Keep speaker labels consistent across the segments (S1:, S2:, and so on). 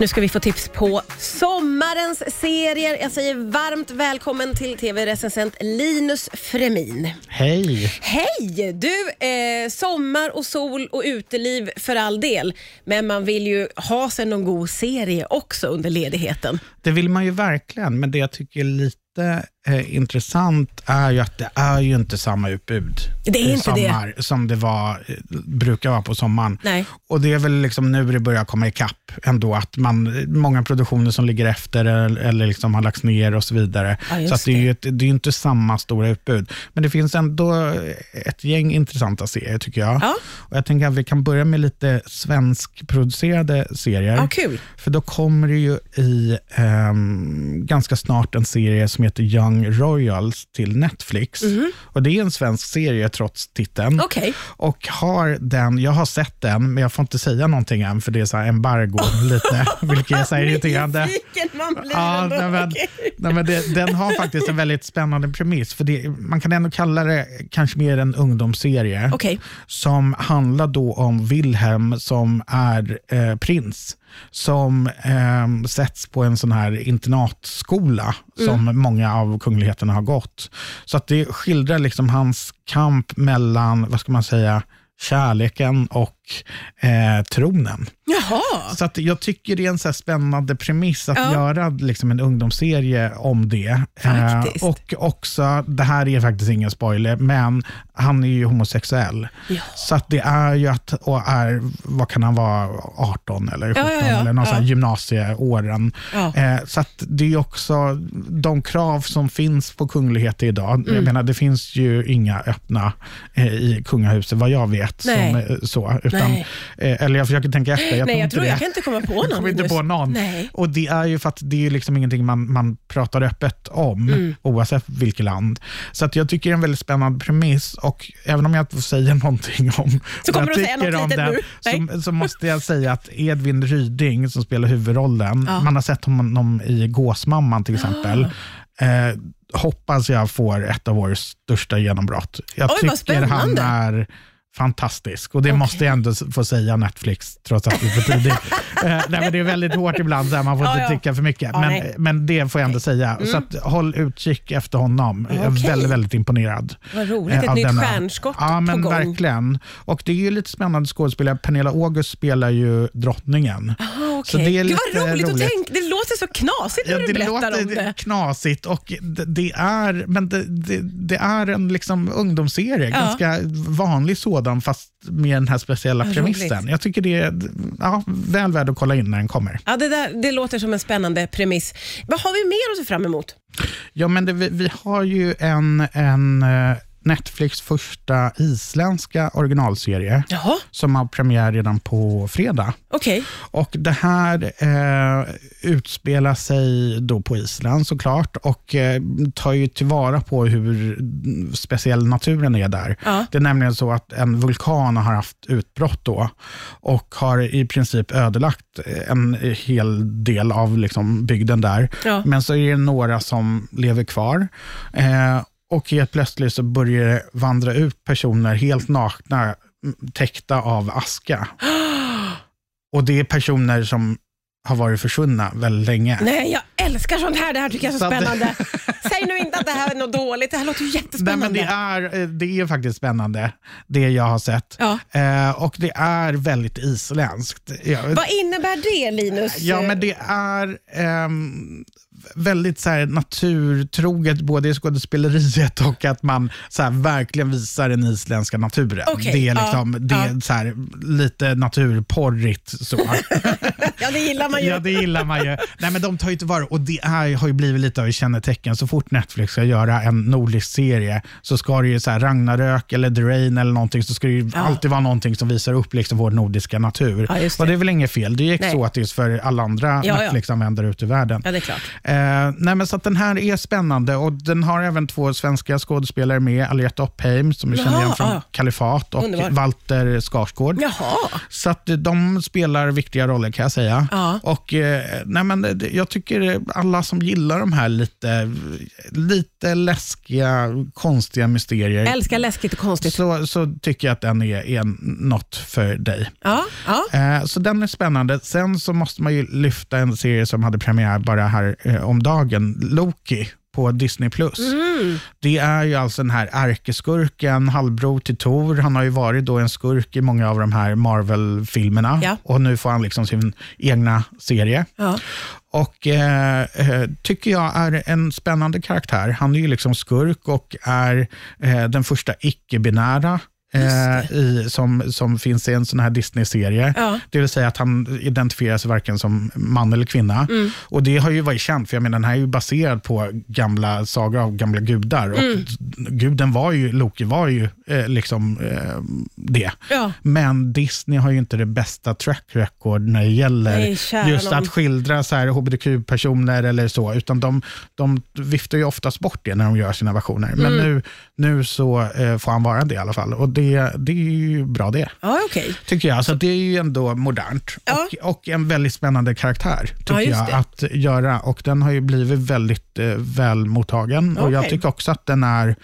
S1: Nu ska vi få tips på sommarens serier. Jag säger varmt välkommen till tv-recensent Linus Fremin.
S2: Hej!
S1: Hej! Du, eh, sommar och sol och uteliv för all del, men man vill ju ha sig någon god serie också under ledigheten.
S2: Det vill man ju verkligen, men det jag tycker är lite eh, intressant är ju att det är ju inte samma utbud
S1: Det är
S2: i
S1: inte det.
S2: sommar som det var, eh, brukar vara på sommaren.
S1: Nej.
S2: Och Det är väl liksom nu det börjar komma ikapp ändå, att man, många produktioner som ligger efter eller, eller liksom har lagts ner och så vidare.
S1: Ja, just
S2: så att det är
S1: det.
S2: ju ett, det är ju inte samma stora utbud. Men det finns ändå ett gäng intressanta serier tycker jag.
S1: Ja.
S2: Och jag tänker att vi kan börja med lite svenskproducerade serier.
S1: Ja, kul.
S2: För då kommer det ju i ehm, ganska snart en serie som heter Young Royals till Netflix.
S1: Mhm.
S2: Och Det är en svensk serie trots titeln.
S1: Okej.
S2: Och har den, jag har sett den, men jag får inte säga någonting än, för det är så här embargo lite, vilket är så här irriterande.
S1: Nyfiken man blir
S2: Ja,
S1: ändå.
S2: nej, men,
S1: Okej.
S2: nej, men det, den har faktiskt en väldigt spännande premiss. För det, man kan ändå kalla det kanske mer en ungdomsserie.
S1: Okej.
S2: Som handlar då om Wilhelm som är eh, prins. Som eh, sätts på en sån här internatskola som många av kungligheterna har gått. Så att det skildrar liksom hans kamp mellan, vad ska man säga, kärleken och eh, tronen.
S1: Jaha.
S2: Så att jag tycker det är en så här spännande premiss att
S1: Ja.
S2: göra liksom en ungdomsserie om det.
S1: Faktiskt.
S2: Eh, och också, det här är faktiskt ingen spoiler, men han är ju homosexuell.
S1: Ja.
S2: Så att det är ju att, och är, vad kan han vara, 18 eller 17
S1: ja, ja.
S2: eller någon
S1: Ja.
S2: sån här gymnasieåren.
S1: Ja.
S2: Eh, så att det är också de krav som finns på kungligheter idag.
S1: Mm.
S2: Jag menar, det finns ju inga öppna eh, i kungahuset vad jag vet.
S1: Nej.
S2: Som, eh, så, utan,
S1: Nej.
S2: eh, eller jag försöker tänka efter. Jag
S1: Nej, jag
S2: inte
S1: tror
S2: det.
S1: jag kan inte komma på någon
S2: Jag kommer inte
S1: just-
S2: på någon.
S1: Nej.
S2: Och det är ju för att det är ju liksom ingenting man, man pratar öppet om,
S1: Mm.
S2: oavsett vilket land. Så att jag tycker det är en väldigt spännande premiss och även om jag inte får säga någonting om
S1: Så kommer
S2: vad
S1: du
S2: jag
S1: att säga
S2: tycker
S1: något
S2: om
S1: litet
S2: den,
S1: nu?
S2: så, så måste jag säga att Edvin Ryding som spelar huvudrollen, man har sett honom i Gåsmamman
S1: Ah.
S2: till exempel, eh, hoppas jag får ett av årets största genombrott. Jag
S1: Oj, vad
S2: tycker han
S1: spännande.
S2: är fantastisk. Och det måste jag ändå få säga Netflix, trots att det är för tidigt. Eh, nej, men det är väldigt hårt ibland, så här, man får
S1: Ja,
S2: inte
S1: ja.
S2: tycka för mycket.
S1: Ja,
S2: men,
S1: nej. Mm.
S2: men det får jag ändå säga. Så att, håll utkik efter honom. Jag
S1: Okej.
S2: är väldigt, väldigt imponerad.
S1: Vad roligt,
S2: eh,
S1: ett
S2: av
S1: nytt
S2: denna.
S1: stjärnskott
S2: ja,
S1: på
S2: men
S1: gång.
S2: Verkligen. Och det är ju lite spännande skådespelare. Pernilla August spelar ju drottningen.
S1: Ah,
S2: Så
S1: Okej.
S2: det är
S1: Gud vad
S2: lite
S1: roligt, att
S2: roligt.
S1: tänka. Det låter så knasigt när
S2: Ja,
S1: du
S2: det
S1: berättar om det.
S2: låter knasigt, och det, det är, men det, det, det är en liksom ungdomsserie.
S1: Ja.
S2: Ganska vanlig sådan, fast med den här speciella
S1: Vad
S2: premissen.
S1: roligt.
S2: Jag tycker det är ja, väl värd att kolla in när den kommer.
S1: Ja, det, där, det låter som en spännande premiss. Vad har vi mer att se fram emot?
S2: Ja, men det, vi, vi har ju en, en eh, Netflix första isländska originalserie
S1: Jaha,
S2: som har premiär redan på fredag.
S1: okej.
S2: Och Det här eh, utspelar sig då på Island såklart och eh, tar ju tillvara på hur speciell naturen är där.
S1: Ja.
S2: Det är nämligen så att en vulkan har haft utbrott då och har i princip ödelagt eh, en hel del av liksom bygden där.
S1: Ja.
S2: Men så är det några som lever kvar. Eh, och helt plötsligt så börjar det vandra ut personer helt nakna, m, täckta av aska. Och det är personer som har varit försvunna väldigt länge.
S1: Nej, jag älskar sånt här. Det här tycker jag är så
S2: Så att-
S1: spännande. Säg nu inte att det här är något dåligt. Det här låter ju
S2: Nej,
S1: jättespännande.
S2: men det, är, eh, det är faktiskt spännande, det jag har sett.
S1: Ja.
S2: Eh, och det är väldigt isländskt. Jag-
S1: Vad innebär det, Linus?
S2: Ja, men det är ehm, väldigt så här, naturtroget, både i skådespeleriet och att man så här, verkligen visar den isländska naturen.
S1: Okej,
S2: Det är,
S1: ja,
S2: liksom, det är
S1: ja.
S2: så här, lite naturporrigt. Så.
S1: Ja, det gillar man ju.
S2: ja, det gillar man ju. Nej, men de tar ju tillvara, och det är, har ju blivit lite av ett kännetecken. Så fort Netflix ska göra en nordisk serie så ska det ju så här Ragnarök eller The Rain eller någonting, så ska det ju
S1: Ja.
S2: alltid vara någonting som visar upp liksom vår nordiska natur.
S1: Ja, just det.
S2: Och det är väl inget fel. Det är ju
S1: Nej.
S2: exotiskt för alla andra
S1: Ja, ja.
S2: Netflix-användare ute i världen.
S1: Ja, det är klart.
S2: Eh, Eh, nej, men så att den här är spännande och den har även två svenska skådespelare med. Aliette Oppheim som vi känner igen
S1: Jaha,
S2: från
S1: ja.
S2: Kalifat och
S1: Underbar.
S2: Walter Skarsgård.
S1: Jaha.
S2: Så att eh, de spelar viktiga roller kan jag säga.
S1: Ja.
S2: Och, eh, nej, men det- jag tycker alla som gillar de här lite, lite läskiga, konstiga mysterier
S1: Älskar läskigt och konstigt.
S2: så, så tycker jag att den är, är något för dig.
S1: Ja, ja.
S2: Eh, Så den är spännande. Sen så måste man ju lyfta en serie som hade premiär bara här eh, om dagen, Loki på Disney+. Plus.
S1: Mm.
S2: Det är ju alltså den här ärkeskurken, halvbror till Thor. Han har ju varit då en skurk i många av de här Marvel-filmerna
S1: Ja.
S2: och nu får han liksom sin egna serie.
S1: ja.
S2: Och eh, eh, tycker jag är en spännande karaktär. Han är ju liksom skurk och är eh, den första icke-binära eh, i, som, som finns i en sån här Disney-serie.
S1: Ja.
S2: Det vill säga att han identifierar sig varken som man eller kvinna. Och det har ju varit känt, för jag menar den här är ju baserad på gamla sagor av gamla gudar. Och guden var ju, Loki var ju eh, liksom eh, det.
S1: Ja.
S2: Men Disney har ju inte det bästa track record när det gäller
S1: Nej, kära
S2: just
S1: nån.
S2: att skildra så här hbtq-personer eller så, utan de, de viftar ju oftast bort det när de gör sina versioner. Men
S1: Mm.
S2: nu, nu så eh, får han vara det i alla fall och det, det är ju bra det,
S1: ja okej.
S2: tycker jag. Så det är ju ändå modernt
S1: Ja.
S2: och, och en väldigt spännande karaktär, tycker
S1: Ja, just
S2: jag,
S1: det.
S2: att göra. Och den har ju blivit väldigt eh, väl mottagen och jag
S1: Okej.
S2: tycker också att den är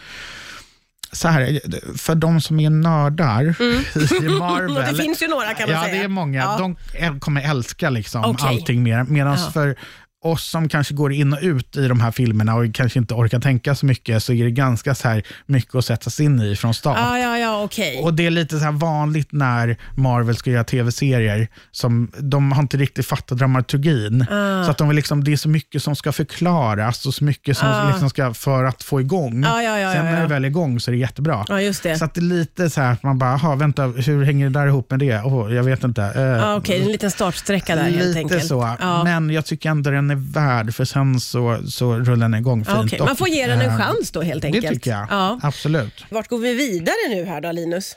S2: så här, för de som är nördar i Marvel,
S1: Mm. Det finns ju några kan man
S2: ja,
S1: säga.
S2: det är många.
S1: Ja.
S2: De äl- kommer älska liksom
S1: Okej.
S2: allting mer. Medan
S1: Ja.
S2: för oss som kanske går in och ut i de här filmerna och kanske inte orkar tänka så mycket, så är det ganska så här mycket att sätta sig in i från start.
S1: Ja, ja, ja, okej.
S2: Och Det är lite så här vanligt när Marvel ska göra tv-serier, som de har inte riktigt fattat dramaturgin.
S1: Ah.
S2: Så att de vill liksom, det är så mycket som ska förklaras och så mycket som liksom ska för att få igång.
S1: Ah. Ja, ja, ja,
S2: Sen
S1: ja,
S2: när
S1: ja. Ah,
S2: det väl är igång så är det jättebra.
S1: Ja, just det.
S2: Så att det är lite så här att man bara, aha, vänta, hur hänger det där ihop med det? Åh, jag vet inte. Eh,
S1: Ja, Ah, okej, en liten startsträcka där helt
S2: Lite
S1: enkelt.
S2: så,
S1: Ja.
S2: men jag tycker ändå den är värd för sen så, så rullar den igång fint.
S1: Ja, Ah, okej. Man
S2: Och,
S1: får ge den en
S2: eh,
S1: chans då helt
S2: Det
S1: enkelt.
S2: tycker jag,
S1: Ja.
S2: absolut.
S1: Vart går vi vidare nu här då Linus?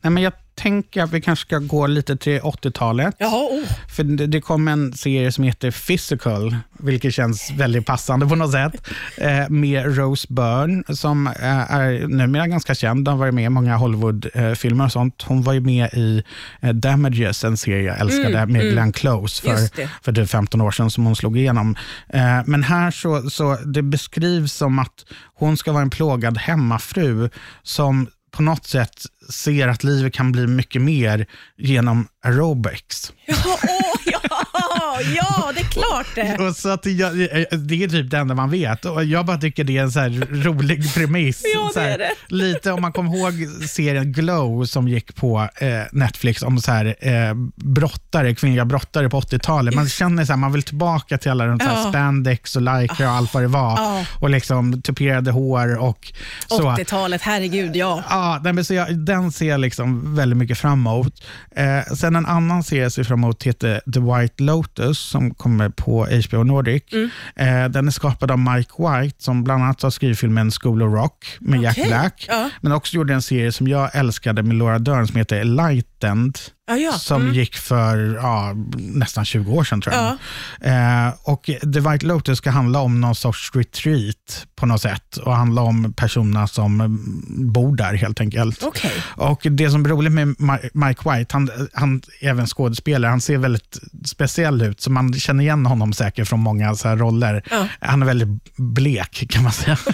S2: Nej, men jag tänker att vi kanske ska gå lite till 80-talet.
S1: Jaha, oh.
S2: För det, det kom en serie som heter Physical, vilket känns väldigt passande på något sätt, eh, med Rose Byrne, som eh, är numera ganska känd. Hon har varit med i många Hollywood-filmer och sånt. Hon var ju med i eh, Damages, en serie jag älskade, med Glenn Close
S1: Mm, Just
S2: för,
S1: det.
S2: för typ 15 år sedan som hon slog igenom. Eh, men här så, så det beskrivs som att hon ska vara en plågad hemmafru som på något sätt ser att livet kan bli mycket mer genom aerobics.
S1: Jaha, åh, ja, ja, det är klart det.
S2: Och så att jag, det är typ det enda man vet. Och jag bara tycker det är en så här rolig premiss.
S1: Ja, det
S2: så här,
S1: är det.
S2: Lite om man kommer ihåg serien Glow som gick på eh, Netflix om så här, eh, brottare, kvinnliga brottare på 80-talet. Man känner så här, man vill tillbaka till alla de så här
S1: Ja. Ah.
S2: spandex och lycra och allt vad det var.
S1: Ja.
S2: Och liksom tuperade hår och så.
S1: 80-talet, herregud ja.
S2: Ja, nej, men så jag, den ser jag liksom väldigt mycket fram emot. Eh, sen en annan serie jag ser fram emot heter The White Lotus som kommer på HBO Nordic.
S1: Mm.
S2: Eh, den är skapad av Mike White som bland annat har skrivit filmen School of Rock med Jack
S1: Okej,
S2: Black.
S1: ja.
S2: Men också gjorde en serie som jag älskade med Laura Dern som heter Enlightened.
S1: Ja, ja. Mm.
S2: Som gick för ja, nästan 20 år sedan tror jag.
S1: Ja.
S2: Eh, och The White Lotus ska handla om någon sorts retreat på något sätt och handla om personerna som mm, bor där helt enkelt.
S1: Okej.
S2: Och Det som är roligt med Ma- Mike White, han, han är även skådespelare, han ser väldigt speciell ut, så man känner igen honom säkert från många så här roller.
S1: Ja.
S2: Han är väldigt blek kan man säga.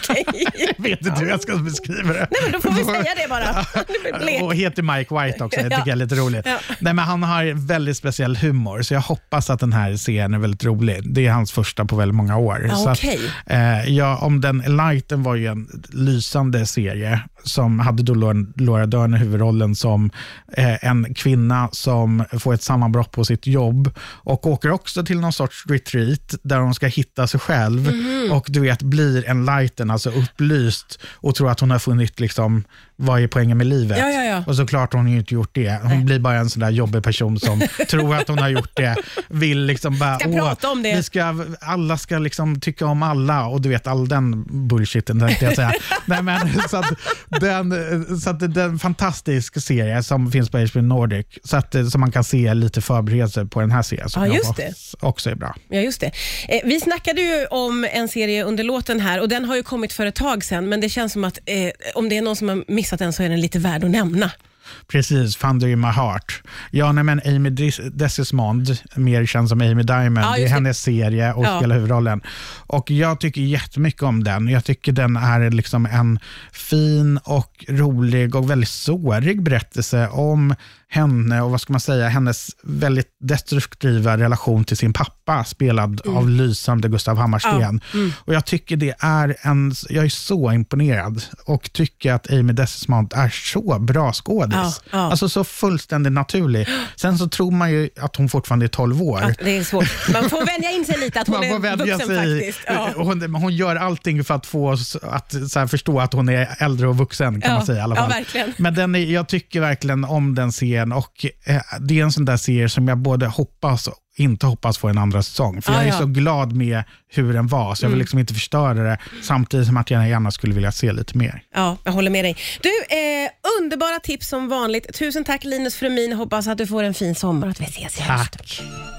S2: Jag vet inte hur jag ska beskriva det.
S1: Men då får vi säga det bara. Det blir blek.
S2: Och heter Mike White också, det tycker
S1: Ja.
S2: jag är lite roligt.
S1: Ja.
S2: Nej, men han har väldigt speciell humor, så jag hoppas att den här serien är väldigt rolig. Det är hans första på väldigt många år.
S1: Ja,
S2: så att,
S1: okej.
S2: eh, ja, om den Enlighten var ju en lysande serie som hade då Laura- Laura Dern i huvudrollen som eh, en kvinna som får ett sammanbrott på sitt jobb och åker också till någon sorts retreat där hon ska hitta sig själv
S1: Mhm.
S2: och du vet blir Enlighten, alltså upplyst och tror att hon har funnit liksom, vad är poängen med livet?
S1: Ja, ja, ja.
S2: Och såklart har hon ju inte gjort det. Hon blir bara en sån där jobbig person som tror att hon har gjort det. Vill liksom bara,
S1: Ska
S2: "Åh,
S1: prata om det."
S2: Vi ska, alla ska liksom tycka om alla och du vet all den bullshiten tänkte jag säga. Nej, men, så att den, eh, så att det- det är en fantastisk serie som finns på HBO Nordic, så att, eh, så man kan se lite förberedelser på den här serien som
S1: Ja,
S2: jag
S1: just
S2: också- också är bra.
S1: Ja, just det. Eh, vi snackade ju om en serie under låten här och den har ju kommit för ett tag sedan, men det känns som att eh, om det är någon som har missat den så är den lite värd att nämna.
S2: Precis, Thunder in my heart. Ja, nej, men Amy Dis- Desismond, mer känd som Amy Diamond,
S1: Ja,
S2: det är
S1: just det.
S2: hennes serie och
S1: Ja.
S2: spelar huvudrollen. Och Jag tycker jättemycket om den. Jag tycker den är liksom en fin och rolig och väldigt sårig berättelse om henne och vad ska man säga, hennes väldigt destruktiva relation till sin pappa, spelad
S1: Mm.
S2: av lysande Gustav Hammarsten. Och jag tycker det är en, jag är så imponerad och tycker att Amy Desmond är så bra skådis.
S1: Ja, ja.
S2: Alltså så fullständigt naturlig. Sen så tror man ju att hon fortfarande är 12 år.
S1: Att det är svårt. Man får vänja in sig lite att hon
S2: Man får
S1: är
S2: vänja
S1: vuxen
S2: sig i.
S1: faktiskt. Ja.
S2: Hon, hon gör allting för att få oss att så här, förstå att hon är äldre och vuxen. kan
S1: Ja,
S2: man säga i alla
S1: ja,
S2: fall.
S1: verkligen.
S2: Men den är, jag tycker verkligen om den serien och eh, det är en sån där serie som jag både hoppas och inte hoppas få en andra säsong. För
S1: Ah,
S2: jag är
S1: ja. Mm.
S2: så glad med hur den var, så jag vill liksom inte förstöra det. Samtidigt som att jag gärna skulle vilja se lite mer.
S1: Ja, jag håller med dig. Du, eh, underbara
S2: Ah.
S1: tips som vanligt. Tusen tack Linus Frumin. Hoppas att du får en fin sommar och att vi ses i höst.
S2: Tack.